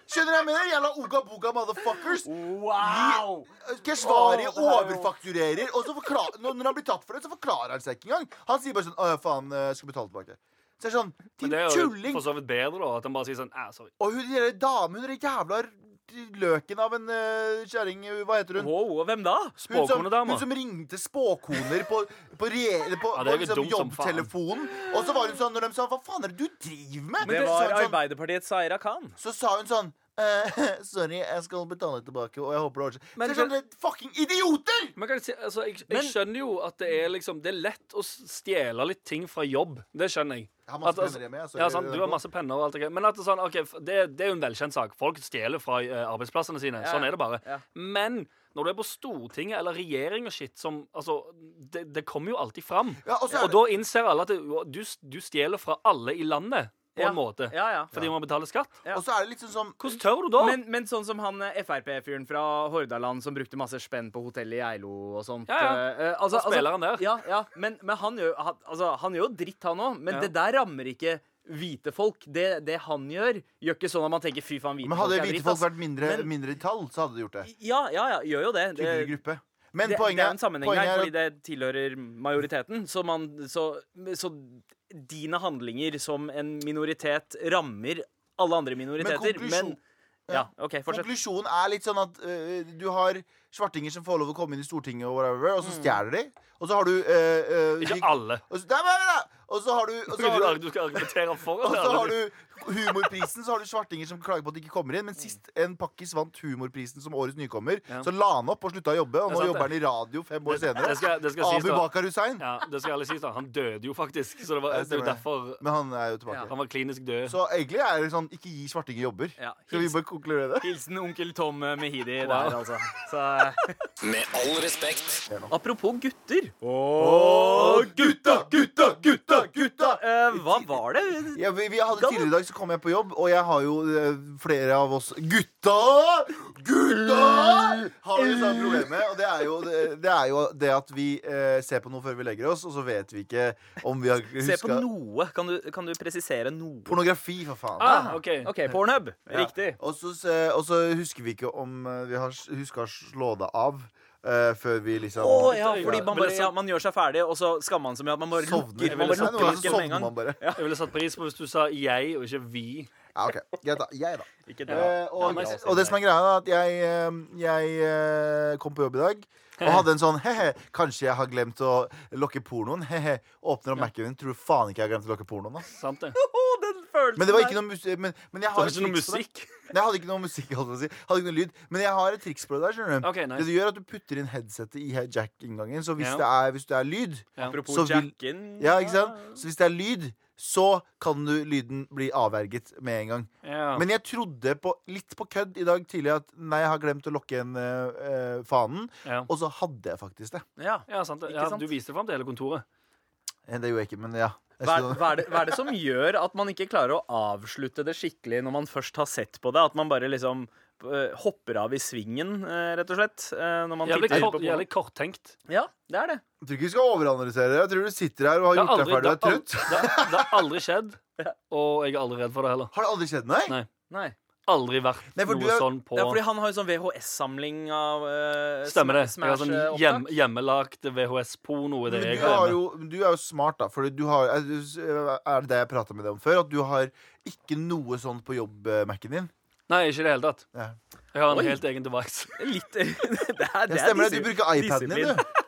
Speaker 7: Skjønner du hva jeg mener? Jævla Oga Boga motherfuckers. Wow! Keshvari overfakturerer. Og så forklar, når når han blir tatt for det, så forklarer han seg ikke engang. Han sier bare sånn Å, ja, faen, eh, skal betale tilbake. Så jeg er sånn
Speaker 3: Men
Speaker 7: Din
Speaker 3: det er jo
Speaker 7: tulling!
Speaker 3: for så vidt bedre, da. At han bare sier sånn Æ, sorry.
Speaker 7: Og hun der dame, hun der jævla løken av en eh, kjerring, hva heter hun?
Speaker 4: Wow, og hvem da?
Speaker 7: Hun som,
Speaker 3: Spåkonedama.
Speaker 7: hun som ringte spåkoner på, på, re- eller på,
Speaker 3: Ja,
Speaker 7: på
Speaker 3: det er jo
Speaker 7: liksom
Speaker 3: dumt som faen.
Speaker 7: jobbtelefonen. Og så var hun sånn når de sa 'hva faen er det du driver med?' så,
Speaker 4: Det var
Speaker 7: sa hun sånn,
Speaker 4: Arbeiderpartiets Saira Khan.
Speaker 7: så sa hun sånn eh, Sorry, jeg skal betale tilbake, og jeg håper det ordner seg.
Speaker 3: Men
Speaker 7: Det er sånn, det er fucking idioter!
Speaker 3: Men kan jeg, si, altså, jeg, jeg skjønner jo at det er liksom Det er lett å stjele litt ting fra jobb. Det skjønner jeg.
Speaker 7: Jeg har masse
Speaker 3: At, altså,
Speaker 7: venner hjemme, jeg, så
Speaker 3: ja,
Speaker 7: jeg-
Speaker 3: sant, du har masse penner og alt det greia. Men at det, er sånn, ok, f- det, det er jo en velkjent sak. Folk stjeler fra eh, arbeidsplassene sine. Sånn er det bare.
Speaker 4: Ja.
Speaker 3: Men når du er på Stortinget eller regjering og shit som Altså, det, det kommer jo alltid fram.
Speaker 7: Ja, og så er
Speaker 3: og da innser alle at det, du, du stjeler fra alle i landet, på
Speaker 4: Ja.
Speaker 3: en måte.
Speaker 4: Ja, ja.
Speaker 3: Fordi man betaler skatt.
Speaker 4: Ja.
Speaker 7: Og så er det litt sånn som
Speaker 3: Hvordan tør du da?
Speaker 4: Men, men sånn som han eh, Frp-fyren fra Hordaland som brukte masse spenn på hotellet i Eilo og sånt.
Speaker 3: Ja, ja.
Speaker 4: eh, eh, altså,
Speaker 3: Og spilleren der.
Speaker 4: Ja, ja. Men, men han, gjør, han, altså, han gjør jo dritt, han òg. Men
Speaker 3: Ja.
Speaker 4: det der rammer ikke hvite folk. Det, det han gjør, gjør ikke sånn at man tenker fy faen, hvite
Speaker 7: Men hadde
Speaker 4: folk er
Speaker 7: hvite
Speaker 4: dritt.
Speaker 7: folk
Speaker 4: ass.
Speaker 7: vært mindre,
Speaker 4: Men-
Speaker 7: mindre i tall, så hadde de gjort det.
Speaker 4: Ja, ja, ja, gjør jo det. Det,
Speaker 7: Tydeligere
Speaker 4: det,
Speaker 7: gruppe. Men
Speaker 4: det
Speaker 7: poenget,
Speaker 4: er en sammenheng
Speaker 7: poenget
Speaker 4: her,
Speaker 7: er
Speaker 4: fordi det tilhører majoriteten. Så, man, så, så dine handlinger som en minoritet rammer alle andre minoriteter. Men,
Speaker 7: konklusjon-
Speaker 4: ja, OK, fortsett.
Speaker 7: Konklusjonen er litt sånn at øh, du har svartinger som får lov å komme inn i Stortinget, og whatever, og så stjeler de. Og så har du øh, øh,
Speaker 3: Ikke
Speaker 7: de-
Speaker 3: alle.
Speaker 7: Og så, Nei, nei, nei, nei. Og så har du, og
Speaker 3: Du,
Speaker 7: så har du
Speaker 3: du skal argumentere for
Speaker 7: og
Speaker 3: det.
Speaker 7: så har
Speaker 3: eller?
Speaker 7: du humorprisen, så har du svartinger som klager på at de ikke kommer inn. Men sist en pakkis vant humorprisen som årets nykommer, så la han opp og slutta å jobbe. Og
Speaker 3: Det er
Speaker 7: nå
Speaker 3: sant,
Speaker 7: jobber han
Speaker 3: det.
Speaker 7: i radio fem år senere.
Speaker 3: det skal- det skal sies
Speaker 7: Abu
Speaker 3: da.
Speaker 7: Bakar Hussein.
Speaker 3: Ja, det skal alle si. da. Han døde jo faktisk, så det var,
Speaker 7: Ja,
Speaker 3: det er jo
Speaker 7: stemmer det.
Speaker 3: derfor
Speaker 7: Men han er jo tilbake.
Speaker 3: han var klinisk død.
Speaker 7: Så egentlig er det sånn ikke gi svartinger jobber.
Speaker 4: Ja,
Speaker 7: Skal vi
Speaker 4: hils-
Speaker 7: bare konkludere det?
Speaker 4: Hilsen onkel Tom eh, Mehidi
Speaker 3: Wow.
Speaker 4: der, altså. Så,
Speaker 1: Med all respekt.
Speaker 4: apropos gutter.
Speaker 7: gutta, gutta, gutta, gutta!
Speaker 4: eh, hva var det?
Speaker 7: Ja, vi, vi hadde
Speaker 4: Gammel.
Speaker 7: Tidligere i dag så kom jeg på jobb, og jeg har jo eh, flere av oss Gutta! Gutta! Har jo samme problemet. Og det er jo det, det, er jo det at vi eh, ser på noe før vi legger oss, og så vet vi ikke om vi har
Speaker 4: Se på
Speaker 7: huska
Speaker 4: noe. Kan du, kan du presisere noe?
Speaker 7: Pornografi, for faen.
Speaker 3: Ah, ok.
Speaker 4: OK, Pornhub.
Speaker 7: Ja.
Speaker 4: Riktig.
Speaker 7: Og så, s- og så husker vi ikke om eh, vi har s- huska å slå det av eh, før vi liksom
Speaker 4: Å ja, fordi man,
Speaker 3: Men
Speaker 4: bare,
Speaker 3: det-
Speaker 4: ja, man gjør seg ferdig, og så skammer man seg med at man bare
Speaker 7: sovner.
Speaker 4: lukker, man bare
Speaker 7: Noen
Speaker 4: lukker
Speaker 7: ganger så
Speaker 4: lukken med en
Speaker 7: sovner
Speaker 4: gang.
Speaker 7: man bare.
Speaker 3: Jeg ville satt pris på hvis du sa jeg og ikke vi.
Speaker 7: Ja, ok. Greit, da. Jeg, da.
Speaker 4: Ikke det.
Speaker 7: Eh,
Speaker 3: Ja,
Speaker 7: og,
Speaker 3: men jeg-
Speaker 7: og det som er greia, er at jeg, eh, jeg eh, kom på jobb i dag og hadde en sånn he-he, kanskje jeg har glemt å lokke pornoen. He-he. Åpner opp Mac-en min, tror faen ikke jeg har glemt å lokke pornoen. Da.
Speaker 3: Sant det?
Speaker 4: Å, den følelsen
Speaker 7: Men det var
Speaker 4: der.
Speaker 7: ikke noe musikk men, men jeg
Speaker 3: Det
Speaker 7: har
Speaker 3: var
Speaker 7: et
Speaker 3: ikke noe
Speaker 7: triks på det.
Speaker 3: musikk.
Speaker 7: Nei, jeg hadde ikke noe musikk, holdt jeg på å si. Jeg Hadde ikke noe lyd. Men jeg har et triks på det der, skjønner du.
Speaker 3: Ok, nice.
Speaker 7: Det du gjør, er at du putter inn headsetet i he- jack-inngangen, så hvis,
Speaker 3: Ja.
Speaker 7: det er, hvis det er lyd
Speaker 3: Ja.
Speaker 4: Apropos
Speaker 7: så vil-
Speaker 4: Jacken.
Speaker 7: Ja, ikke sant? Så hvis det er lyd, så kan du lyden bli avverget med en gang.
Speaker 3: Ja.
Speaker 7: Men jeg trodde på, litt på kødd i dag tidlig at nei, jeg har glemt å lokke igjen eh, eh, fanen.
Speaker 3: Ja.
Speaker 7: Og så hadde jeg faktisk det.
Speaker 4: Ja.
Speaker 3: ja, sant det.
Speaker 4: Ikke
Speaker 3: Ja,
Speaker 4: sant?
Speaker 3: du viste det fram til hele kontoret.
Speaker 7: Eh, Det gjorde jeg ikke, men ja. Jeg
Speaker 4: Hva,
Speaker 7: skulle-
Speaker 4: hva, er det, hva er det som gjør at man ikke klarer å avslutte det skikkelig når man først har sett på det? At man bare liksom eh, hopper av i svingen, eh, rett og slett? eh, Når man
Speaker 3: Jævlig,
Speaker 4: titter
Speaker 3: kort,
Speaker 4: på porno?
Speaker 3: jævlig korttenkt.
Speaker 4: Ja, det er det.
Speaker 7: Jeg tror ikke vi skal overanalysere det. Jeg tror du sitter her og har
Speaker 3: Det
Speaker 7: gjort
Speaker 3: har aldri,
Speaker 7: deg ferdig
Speaker 3: det
Speaker 7: og er
Speaker 3: har aldri,
Speaker 7: trøtt.
Speaker 3: det har- det har aldri skjedd, og jeg er aldri redd for det heller.
Speaker 7: Har det aldri skjedd, nei?
Speaker 3: Nei.
Speaker 4: Nei.
Speaker 3: Aldri vært
Speaker 7: Nei, for du
Speaker 3: noe
Speaker 7: er-
Speaker 3: sånn på
Speaker 4: Det er fordi han har jo sånn VHS-samling av eh,
Speaker 3: Stemmer det.
Speaker 4: sma-
Speaker 3: Jeg har sånn
Speaker 4: Smash-opptak.
Speaker 3: hjem, hjemmelagt VHS-porno. i det
Speaker 7: eh, Men
Speaker 3: jeg
Speaker 7: du, har
Speaker 3: med.
Speaker 7: jo, men du er jo smart, da. For du har, er det det jeg prata med deg om før? At du har ikke noe sånt på jobb-Mac-en din?
Speaker 3: Nei, ikke i det hele tatt.
Speaker 7: Ja.
Speaker 3: Jeg har en
Speaker 4: Oi.
Speaker 3: helt egen device.
Speaker 4: Litt det er,
Speaker 7: Det stemmer, det. Du bruker iPaden din, du.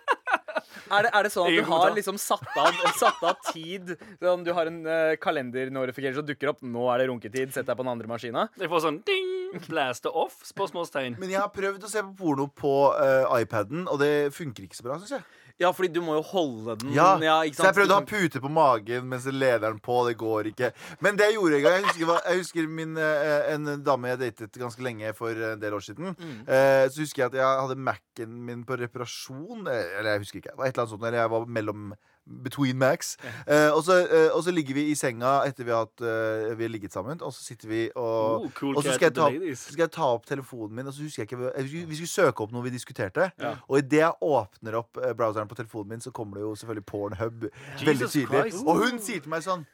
Speaker 4: Er det, er det sånn at
Speaker 3: Ingen
Speaker 4: du har
Speaker 3: kommentar.
Speaker 4: liksom satt av, satt av tid sånn, Du har en eh, kalender-notification som dukker opp. 'Nå er det runketid. Sett deg på den andre maskina.'
Speaker 3: Jeg får sånn ding, blaster off, spørsmålstegn.
Speaker 7: Men jeg har prøvd å se på porno på eh, iPaden, og det funker ikke så bra, syns jeg.
Speaker 4: Ja, fordi du må jo holde den.
Speaker 7: Ja,
Speaker 4: Mm,
Speaker 7: så
Speaker 4: ikke
Speaker 7: jeg
Speaker 4: sant? Sånn-
Speaker 7: prøvde å ha
Speaker 4: Du kan-
Speaker 7: pute på magen mens jeg leder den på. Det går ikke. Men det jeg gjorde en gang Jeg husker, hva- jeg husker min, eh, en dame jeg datet ganske lenge for en del år siden. Eh, så husker jeg at jeg hadde Mac-en min på reparasjon. eh, Eller jeg husker ikke. Det var Et eller annet sånt, eller jeg var mellom Between Macs. Eh, og, så, eh, og så ligger vi i senga etter vi har, hatt, eh, vi har ligget sammen, og så sitter vi og
Speaker 3: Oh, cool
Speaker 7: og så
Speaker 3: cat
Speaker 7: skal jeg,
Speaker 3: to the
Speaker 7: ta opp,
Speaker 3: ladies.
Speaker 7: så skal jeg ta opp telefonen min, og så husker jeg ikke hva- jeg husker- Vi skulle søke opp noe vi diskuterte. Og idet jeg åpner opp eh, browseren på telefonen min, så kommer det jo selvfølgelig Pornhub. veldig
Speaker 3: Jesus
Speaker 7: tydelig.
Speaker 3: Christ.
Speaker 7: Og hun sier til meg sånn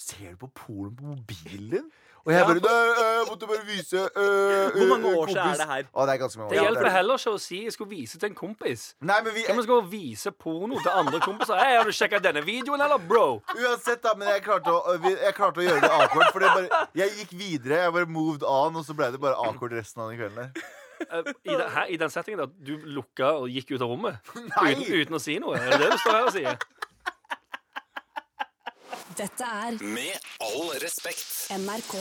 Speaker 7: Ser du på porno på mobilen din? Og jeg bare «Nei, eh, Jeg måtte bare vise eh,
Speaker 4: Hvor mange
Speaker 7: eh,
Speaker 4: år siden er
Speaker 7: kompis».
Speaker 4: det her?
Speaker 7: Å, det er ganske mange år
Speaker 3: Det
Speaker 7: siden.
Speaker 3: hjelper det heller ikke å si jeg skulle vise til en kompis.
Speaker 7: Nei, men vi,
Speaker 3: Hvem skal vise porno til andre kompiser? Hei, har du sjekket denne videoen, eller, bro?
Speaker 7: Uansett, da, men jeg klarte å, eh, vi- jeg klarte å gjøre det awkward. For det bare, jeg gikk videre. Jeg bare moved on, og så ble det bare awkward resten av den kvelden. der.
Speaker 3: Eh, I den, her, i den settingen at du lukka og gikk ut av rommet
Speaker 7: Nei!
Speaker 3: uten, uten å si noe? Er det det du står her og sier?
Speaker 6: Dette er
Speaker 1: Med all respekt.
Speaker 6: NRK.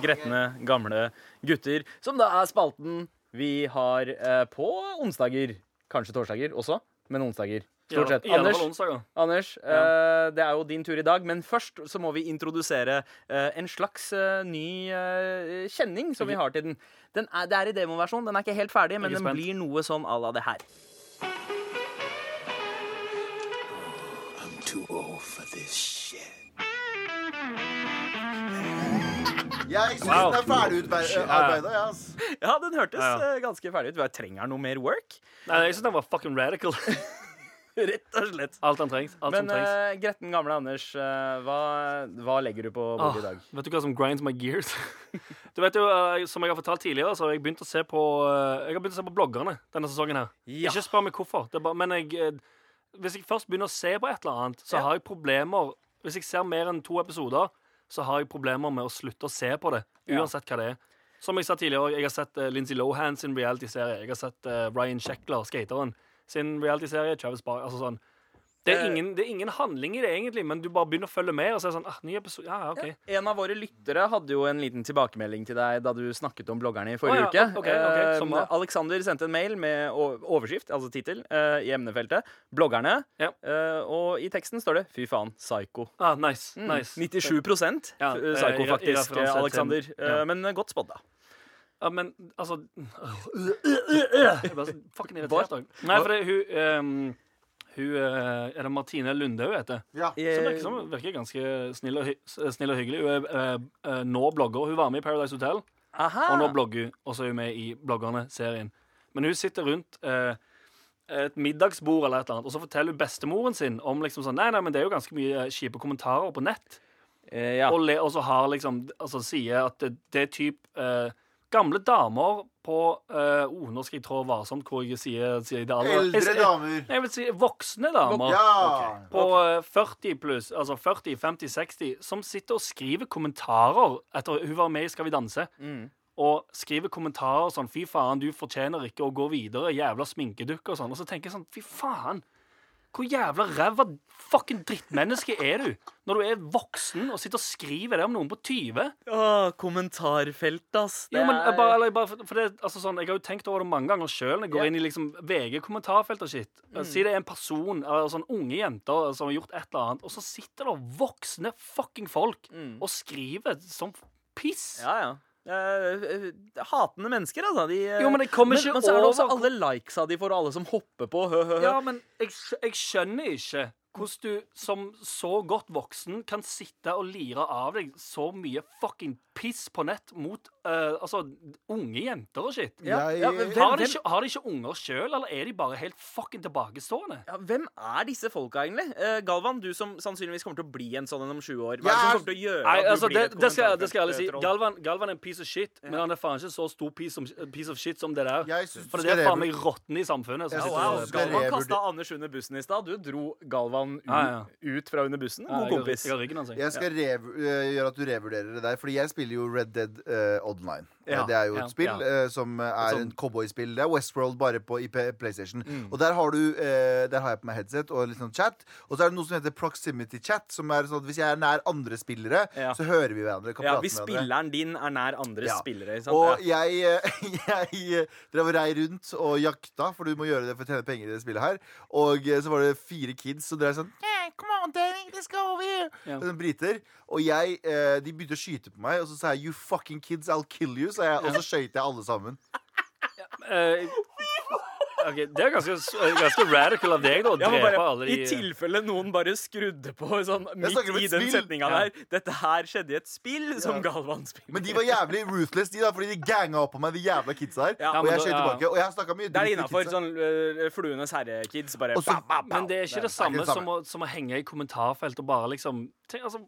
Speaker 4: gretne, gamle gutter. Som da er spalten vi har eh, på onsdager. Kanskje torsdager også, men onsdager. Stort sett.
Speaker 3: I alle
Speaker 4: Anders,
Speaker 3: fall onsdager.
Speaker 4: Anders eh, det er jo din tur i dag, men først så må vi introdusere eh, en slags eh, ny eh, kjenning som vi har til den. den er, det er i demoversjon, den er ikke helt ferdig, men
Speaker 3: Jeg er
Speaker 4: den
Speaker 3: spent.
Speaker 4: blir noe sånn à la det her.
Speaker 7: Jeg syns
Speaker 3: Wow.
Speaker 7: den er ferdigarbeida, jeg, ass.
Speaker 4: Ja, den hørtes
Speaker 3: Ja, ja.
Speaker 4: eh, ganske ferdig ut. Vi trenger noe mer work,
Speaker 3: Nei, jeg syns den var fucking radical.
Speaker 4: rett og slett.
Speaker 3: Alt han trengs. Alt
Speaker 4: Men
Speaker 3: som trengs.
Speaker 4: eh, Gretten gamle Anders, eh, hva, hva legger du på
Speaker 3: Ah,
Speaker 4: bordet i dag?
Speaker 3: vet du hva som grinds my gears? Du vet jo, eh, Som jeg har fortalt tidligere, så har jeg begynt å se på eh, Jeg har begynt å se på bloggerne denne sesongen. her
Speaker 4: Ja.
Speaker 3: Ikke spør meg hvorfor. Det er bare, men jeg, eh, hvis jeg først begynner å se på et eller annet, så har jeg problemer Hvis jeg ser mer enn to episoder, så har jeg problemer med å slutte å se på det. Uansett hva det er. Som jeg sa tidligere, jeg har sett eh, Lindsay Lohan sin reality-serie. Jeg har sett eh, Ryan Sheckler, skateren, sin reality-serie. Travis Barr, altså sånn. Det er,
Speaker 4: Eh.
Speaker 3: ingen, det er ingen handling i det, egentlig, men du bare begynner å følge med. Og så er det sånn, ah, ny episode, ja, ja, ok
Speaker 4: En av våre lyttere hadde jo en liten tilbakemelding til deg da du snakket om bloggerne i forrige
Speaker 3: Å ja,
Speaker 4: uke.
Speaker 3: ok, ok, som
Speaker 4: Eh,
Speaker 3: var?
Speaker 4: Alexander sendte en mail med o- overskrift, altså tittel, eh, i emnefeltet 'Bloggerne'.
Speaker 3: Ja.
Speaker 4: Eh, og i teksten står det 'Fy faen, psyko'.
Speaker 3: Ah, nice,
Speaker 4: Mm.
Speaker 3: nice.
Speaker 4: 97
Speaker 3: Ja,
Speaker 4: eh, psyko,
Speaker 3: eh, i- i
Speaker 4: faktisk,
Speaker 3: referanse
Speaker 4: eh,
Speaker 3: til-
Speaker 4: Alexander. Eh,
Speaker 3: ja.
Speaker 4: Men eh, godt spådd, da.
Speaker 3: Ja, men altså Jeg ble så fucking irritert òg. Nei, for det, hun ehm, Hun eh, Er det Martine Lunde hun heter?
Speaker 2: Ja.
Speaker 3: Som virker, som virker ganske snill og, hy s- snill og hyggelig. Hun er eh, eh, nå blogger. Hun var med i Paradise Hotel,
Speaker 4: Aha.
Speaker 3: og nå blogger hun. Og så er hun med i Bloggerne-serien. Men hun sitter rundt eh, et middagsbord eller et eller annet, og så forteller hun bestemoren sin om liksom sånn Nei, nei, men det er jo ganske mye eh, kjipe kommentarer på nett.
Speaker 4: Eh, ja.
Speaker 3: Og, le, og så har liksom Altså sier at det, det er typ eh, Gamle damer på eh, oh, Nå skal jeg trå varsomt hvor jeg sier, sier det aller Jeg-
Speaker 7: Eldre
Speaker 3: jeg-
Speaker 7: damer.
Speaker 3: Jeg vil si voksne damer.
Speaker 7: Ja.
Speaker 3: På eh, 40 pluss, altså 40, 50, 60, som sitter og skriver kommentarer etter hun var med i Skal vi danse. Og skriver kommentarer sånn 'Fy faen, du fortjener ikke å gå videre, jævla sminkedukke' og sånn. Og så tenker jeg sånn 'Fy faen, hvor jævla ræva fucking drittmenneske er du?' Når du er voksen og sitter og skriver det om noen på 20.
Speaker 4: Å, kommentarfelt, ass.
Speaker 3: Jo, men
Speaker 4: er-
Speaker 3: jeg bare, eller jeg bare, for- for det, altså sånn, jeg har jo tenkt over det mange ganger sjøl. Når jeg går inn i liksom VG-kommentarfelt og shit.
Speaker 4: Mm.
Speaker 3: Si det er en person, eller sånn unge jenter som har gjort et eller annet, og så sitter det voksne fucking folk og skriver som piss.
Speaker 4: Mm. Ja, ja. Eh, eh, hatende mennesker, altså. De, eh,
Speaker 3: Jo, men det kommer
Speaker 4: men,
Speaker 3: ikke
Speaker 4: men så er det også
Speaker 3: over-
Speaker 4: alle likesa de får, og alle som hopper på. Hø, hø, hø.
Speaker 3: Ja, men jeg, skj- jeg skjønner ikke hvordan du som så godt voksen kan sitte og lire av deg så mye fucking piss på nett mot eh, altså, unge jenter og shit.
Speaker 4: Ja, men
Speaker 7: Jeg
Speaker 4: hvem-
Speaker 3: Har de
Speaker 4: hvem-
Speaker 3: ikke, har de ikke unger sjøl, eller er de bare helt fucking tilbakestående?
Speaker 4: Ja, hvem er disse folka, egentlig? Eh, Galvan, du som sannsynligvis kommer til å bli en sånn en om 20 år. Hva
Speaker 7: Jeg
Speaker 4: er det som
Speaker 7: er-
Speaker 4: kommer til å gjøre
Speaker 3: Nei,
Speaker 4: at du
Speaker 3: altså,
Speaker 4: blir
Speaker 3: det,
Speaker 4: et
Speaker 3: det, skal, det skal jeg ærlig si.
Speaker 4: kommentarfelt, eh, troll?
Speaker 3: Galvan, Galvan er en piece of shit, men han er faen ikke så stor piece, som, piece of shit som det der.
Speaker 7: syns du
Speaker 3: For det
Speaker 7: skal
Speaker 3: er faen meg
Speaker 7: revur-
Speaker 3: råtne i samfunnet. som
Speaker 7: Jeg
Speaker 4: Ja,
Speaker 7: synes
Speaker 3: sitter
Speaker 4: wow.
Speaker 3: og-
Speaker 7: det skal
Speaker 4: Galvan
Speaker 7: revurder-
Speaker 4: kasta Anders under bussen i stad. Du dro Galvan u
Speaker 3: Ja, ja.
Speaker 4: ut fra under bussen.
Speaker 3: Ja,
Speaker 4: God
Speaker 3: jeg har-
Speaker 4: kompis.
Speaker 3: Jeg har ryggen hans, jeg.
Speaker 7: Jeg skal rev øh, gjøre at du revurderer det der, fordi jeg spiller jo Red Dead øh, Online.
Speaker 4: Ja,
Speaker 7: Eh, det er jo et
Speaker 3: ja,
Speaker 7: spill
Speaker 4: ja.
Speaker 7: øh, som øh, er
Speaker 4: sånn-
Speaker 7: en cowboyspill. Det er Westworld bare på i P- PlayStation.
Speaker 4: Mm.
Speaker 7: Og der har, du, øh, der har jeg på meg headset og litt sånn chat. Og så er det noe som heter proximity chat, som er sånn at hvis jeg er nær andre spillere,
Speaker 4: Ja.
Speaker 7: så hører vi hverandre. Kan
Speaker 4: Ja,
Speaker 7: prate
Speaker 4: Hvis
Speaker 7: med hverandre.
Speaker 4: spilleren din er nær andre
Speaker 7: Ja.
Speaker 4: spillere. ikke Sant?
Speaker 7: Og
Speaker 4: Ja.
Speaker 7: jeg, eh, jeg eh, drev og rei rundt og jakta, for du må gjøre det for å tjene penger i det spillet her. Og eh, så var det fire kids som drev sånn hey, Come on, Danny, let's go over here.
Speaker 3: Ja.
Speaker 7: Og sånn briter. Og jeg, eh, de begynte å skyte på meg, og så sa jeg You fucking kids, I'll kill you. sa jeg, og så skøyt jeg alle sammen.
Speaker 3: Eh, ok, Det er ganske, eh, ganske radical av deg, da. Å
Speaker 4: Ja, men
Speaker 3: drepe alle
Speaker 4: bare,
Speaker 3: de
Speaker 4: I tilfelle noen bare skrudde på sånn midt
Speaker 7: snakker om
Speaker 4: i
Speaker 7: et
Speaker 4: den
Speaker 7: spill.
Speaker 4: setninga
Speaker 3: Ja.
Speaker 4: der. Dette her skjedde i et spill som Galvan spiller.
Speaker 7: Men de var jævlig ruthless, de da, fordi de ganga opp på meg, de jævla kidsa her.
Speaker 4: Ja,
Speaker 7: og
Speaker 3: men
Speaker 7: jeg
Speaker 3: da-
Speaker 7: skøyt
Speaker 3: ja.
Speaker 7: tilbake. Og jeg har snakka mye
Speaker 4: Det er
Speaker 7: dritt til
Speaker 4: innafor
Speaker 7: kidsa.
Speaker 4: sånn eh, Fluenes herre-kids. Bare
Speaker 7: Og så-
Speaker 4: bam, bam, bam.
Speaker 3: Men det er ikke det
Speaker 7: er ikke
Speaker 3: samme
Speaker 7: det
Speaker 3: som å,
Speaker 7: samme.
Speaker 3: som å henge i kommentarfelt og bare liksom tenk, altså,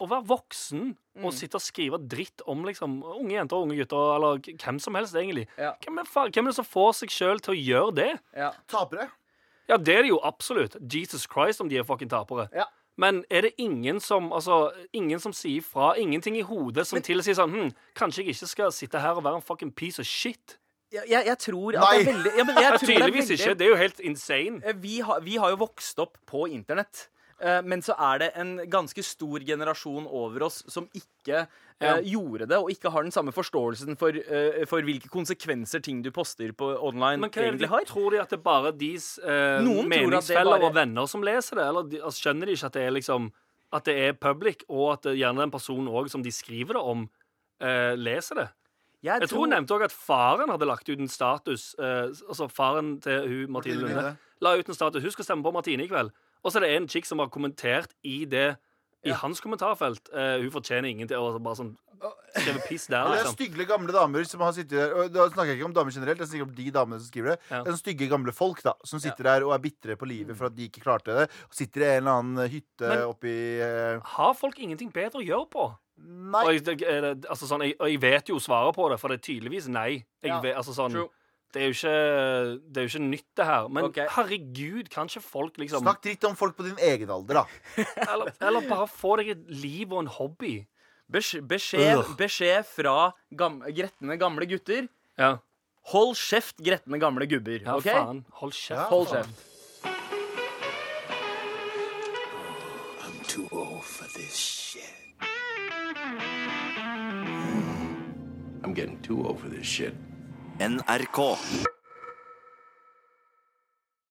Speaker 3: Å være voksen
Speaker 4: Mm.
Speaker 3: og sitte og skrive dritt om liksom unge jenter og unge gutter, eller k- hvem som helst, egentlig.
Speaker 4: Ja.
Speaker 3: Hvem, er, fa- hvem er det som får seg sjøl til å gjøre det?
Speaker 4: Ja.
Speaker 7: Tapere.
Speaker 3: Ja, det er det jo absolutt. Jesus Christ om de er fucking tapere.
Speaker 4: Ja.
Speaker 3: Men er det ingen som altså, ingen som sier fra, ingenting i hodet som tilsier sånn hm, Kanskje jeg ikke skal sitte her og være en fucking piece of shit?
Speaker 4: Jeg, jeg, jeg tror at
Speaker 7: Nei.
Speaker 4: det er veldig Eh, ja, men jeg
Speaker 3: Ja,
Speaker 4: tror det er
Speaker 3: tydeligvis
Speaker 4: veldig-
Speaker 3: ikke. Det er jo helt insane.
Speaker 4: Eh, Vi har, vi har jo vokst opp på internett. Eh, Men så er det en ganske stor generasjon over oss som ikke eh,
Speaker 3: Ja.
Speaker 4: gjorde det, og ikke har den samme forståelsen for, eh, for hvilke konsekvenser ting du poster på online,
Speaker 3: Men hva er det
Speaker 4: egentlig
Speaker 3: de
Speaker 4: har.
Speaker 3: tror de at det er bare deres eh,
Speaker 4: Noen tror at det
Speaker 3: meningsfeller
Speaker 4: bare-
Speaker 3: og venner som leser det? Eller de, altså, skjønner de ikke at det er liksom At det er public, og at det, gjerne den personen også som de skriver det om, eh, leser det? Jeg tror hun nevnte også at faren hadde lagt ut en status eh, Altså faren til hun
Speaker 7: Martine
Speaker 3: Martine Lunde
Speaker 7: Lunde.
Speaker 3: la ut en status. Hun skal stemme på Martine i kveld. Og så er det en chick som har kommentert i det i hans kommentarfelt. eh, hun fortjener ingen til å bare sånn skrive piss der,
Speaker 7: Det er
Speaker 3: liksom.
Speaker 7: stygge gamle damer som har sittet der og Da snakker jeg ikke om damer generelt, jeg snakker om de damene som skriver det.
Speaker 3: Ja.
Speaker 7: Det er stygge gamle folk da som sitter der og er bitre på livet for at de ikke klarte det. Og sitter i en eller annen hytte
Speaker 3: Men-
Speaker 7: oppi eh,
Speaker 3: Har folk ingenting bedre å gjøre på?
Speaker 7: Nei.
Speaker 3: Og jeg, det- er det, altså sånn, jeg, og jeg vet jo svaret på det, for det er tydeligvis nei. Jeg,
Speaker 4: Ja,
Speaker 3: vet, altså sånn,
Speaker 4: true.
Speaker 3: det, er jo ikke, det er jo ikke nytt, det her. Men
Speaker 4: Ok.
Speaker 3: herregud, kan ikke folk liksom
Speaker 7: Snakk dritt om folk på din egen alder, da.
Speaker 3: eller, eller bare få deg et liv og en hobby.
Speaker 4: Besk- Beskjed,
Speaker 3: Ugh.
Speaker 4: beskjed fra gam, gretne gamle gutter.
Speaker 3: Ja,
Speaker 4: Hold kjeft, gretne gamle gubber.
Speaker 3: ja
Speaker 4: ok?
Speaker 3: faen. Hold kjeft.
Speaker 7: Ja,
Speaker 4: Hold
Speaker 3: faen.
Speaker 4: kjeft.
Speaker 1: Too old for this shit. I'm getting too old for this shit.
Speaker 6: NRK.